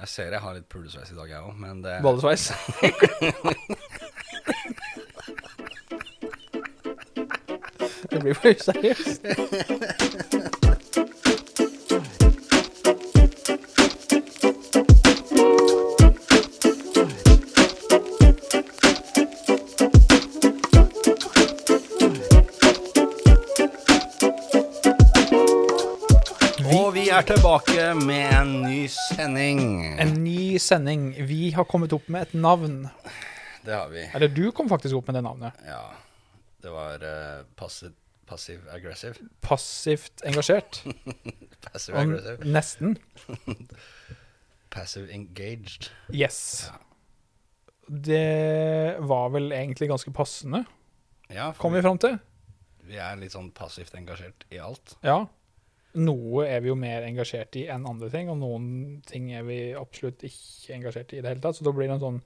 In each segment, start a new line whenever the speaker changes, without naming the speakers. Jeg ser jeg har litt pulesveis i dag, jeg òg, men det
Ballesveis. det blir for seriøst.
Og vi er tilbake med en ny sending.
En ny sending. Vi har kommet opp med et navn.
Det har vi.
Eller du kom faktisk opp med det navnet.
Ja. Det var eh, passi- passiv aggressiv.
Passivt engasjert.
Passiv
Og
aggressiv.
nesten.
Passive engaged.
Yes. Det var vel egentlig ganske passende,
Ja, for
kom vi fram til.
vi er litt sånn passivt engasjert i alt.
Ja. Noe er vi jo mer engasjert i enn andre ting, og noen ting er vi absolutt ikke engasjert i i det hele tatt, så da blir det en sånn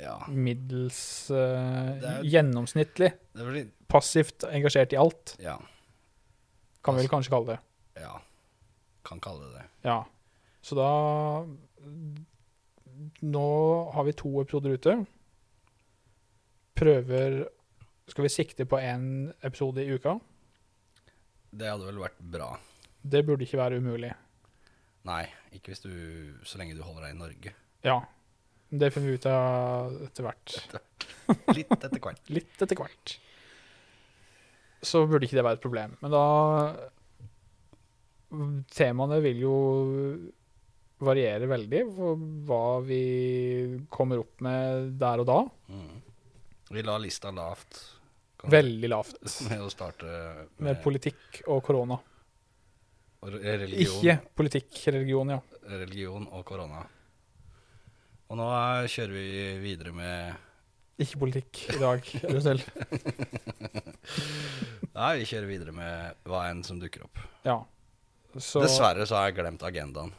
Ja.
middels eh,
Det er-
gjennomsnittlig.
Det blir litt
Passivt engasjert i alt,
Ja.
kan vi vel kanskje kalle det.
ja. Kan kalle det det.
Ja. Så da Nå har vi to episoder ute. Prøver Skal vi sikte på én episode i uka?
Det hadde vel vært bra.
Det burde ikke være umulig.
Nei, ikke hvis du Så lenge du holder deg i Norge.
Ja. Det finner vi ut av etter hvert.
Litt etter hvert.
Litt etter hvert. Så burde ikke det være et problem. Men da Temaene vil jo variere veldig for hva vi kommer opp med der og da.
Mm. Vi la lista lavt. kan-
Veldig lavt.
Med å starte
Med politikk og korona.
og re- religion,
Ikke politikk, religion, ja.
religion og korona. Og nå eh, kjører vi videre med
Ikke politikk i dag, er du snill.
Nei, vi kjører videre med hva enn som dukker opp.
Ja. Så,
Dessverre så har jeg glemt agendaen.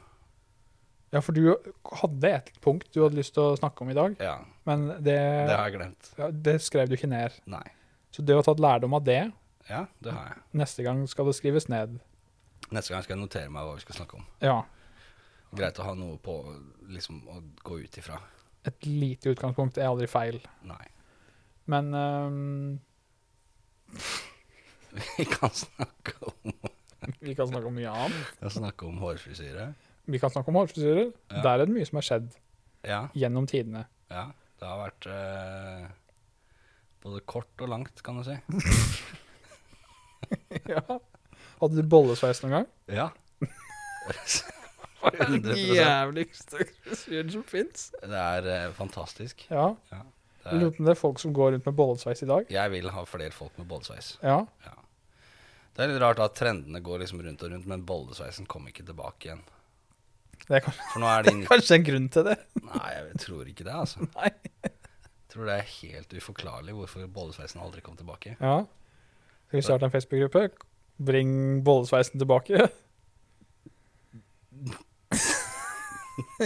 ja, for du hadde et punkt du hadde lyst til å snakke om i dag,
Ja,
men
det har jeg glemt.
Ja, det skrev du ikke ned.
Nei.
Så det å ta lærdom av det,
Ja, det har jeg.
neste gang skal det skrives ned.
Neste gang skal jeg notere meg hva vi skal snakke om.
Ja,
Greit å ha noe på liksom, å gå ut ifra.
et lite utgangspunkt er aldri feil.
Nei.
Men ehm, øhm,
Vi kan snakke om,
vi kan snakke om mye annet.
vi kan snakke om hårfrisyre.
Vi kan snakke om hårfrisyrer.
Ja.
Der er det mye som har skjedd
Ja,
gjennom tidene.
ja. Det har vært eh, både kort og langt, kan du si.
ja. Hadde du bollesveis noen gang?
Ja. 100%.
jævligste frisyren som fins.
Det er eh, fantastisk.
Ja.
Det
Jeg
er,
lurer på om det er folk som går rundt med bollesveis i dag.
jeg vil ha flere folk med bollesveis.
Ja.
Det er litt rart at trendene går liksom rundt og rundt, men bollesveisen kom ikke tilbake igjen.
Det er kanskje,
For nå er de nitt-
Mm. kanskje en grunn til det.
Nei, jeg tror ikke det, altså.
Nei.
Jeg tror det er helt uforklarlig hvorfor bollesveisen aldri kom tilbake.
Ja. Skal vi starte en Facebook-gruppe? Bring bollesveisen tilbake.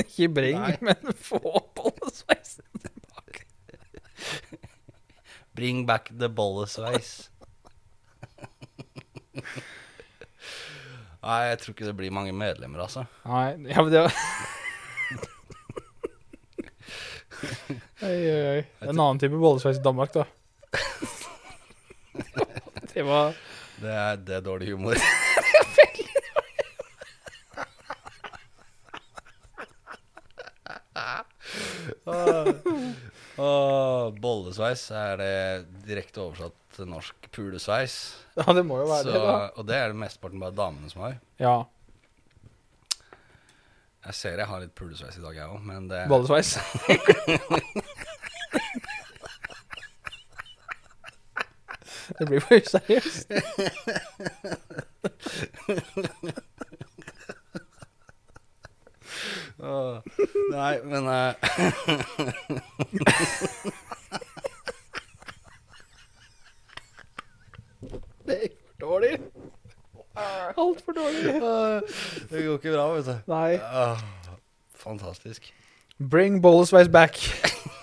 Ikke bring,
Nei.
men få bollesveisen.
Bring back the bollesveis. Nei, jeg tror ikke det blir mange medlemmer, altså.
Nei, ja, men det var Oi, oi, oi. Det er En annen type bollesveis i Danmark, da. Det var
Det er, det er dårlig humor. Åh, bollesveis er det direkte oversatt til norsk pulesveis.
Ja, det må jo være
Så,
det, da.
og det er det mesteparten bare damene som har.
Ja.
Jeg ser jeg har litt pulesveis i dag, jeg òg, men det
Bollesveis. Det blir for useriøst.
Åh, Nei, men eh,
Det gikk for dårlig. Altfor dårlig.
Det går ikke bra, vet du.
Nei.
Åh, fantastisk.
Bring bollesveis back.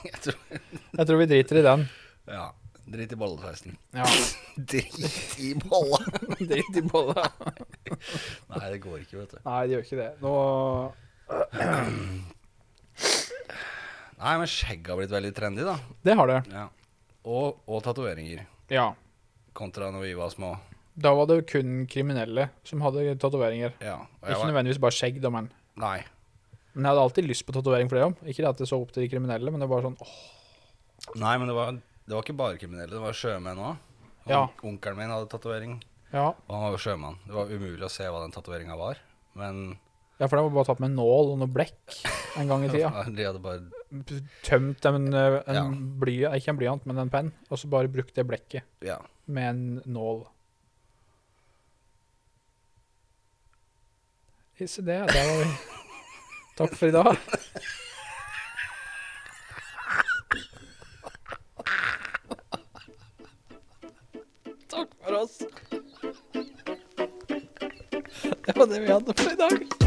Jeg tror
Jeg tror vi driter i den.
Ja. Drit i bollesveisen.
Ja,
Drit i bolla!
Drit i bolla.
Nei, det går ikke, vet du.
Nei, det gjør ikke det. Nå
Nei, men skjegg har blitt veldig trendy, da.
Det har det.
Ja. Og, og tatoveringer.
Ja.
Kontra når vi var små.
Da var det kun kriminelle som hadde tatoveringer.
Ja. Og jeg
Ikke
var,
nødvendigvis bare skjegg, da, men.
nei.
Men jeg hadde alltid lyst på tatovering for det òg. Ikke det at jeg så opp til de kriminelle, men det var sånn åh,
nei, men det var, det var ikke bare kriminelle, det var sjømenn òg.
Ja.
Onkelen min hadde tatovering,
ja.
og han var jo sjømann. Det var umulig å se hva den tatoveringa var. Men
ja, for det var bare tatt med en nål og noe blekk en gang i tida.
de hadde bare
Tømt en, eh, en
Ja.
bly, ikke en blyant, men en penn, og så bare brukt det blekket
Ja.
med en nål. Se det, der var vi. Takk for i dag.
Takk for oss. Det var det vi hadde for i dag.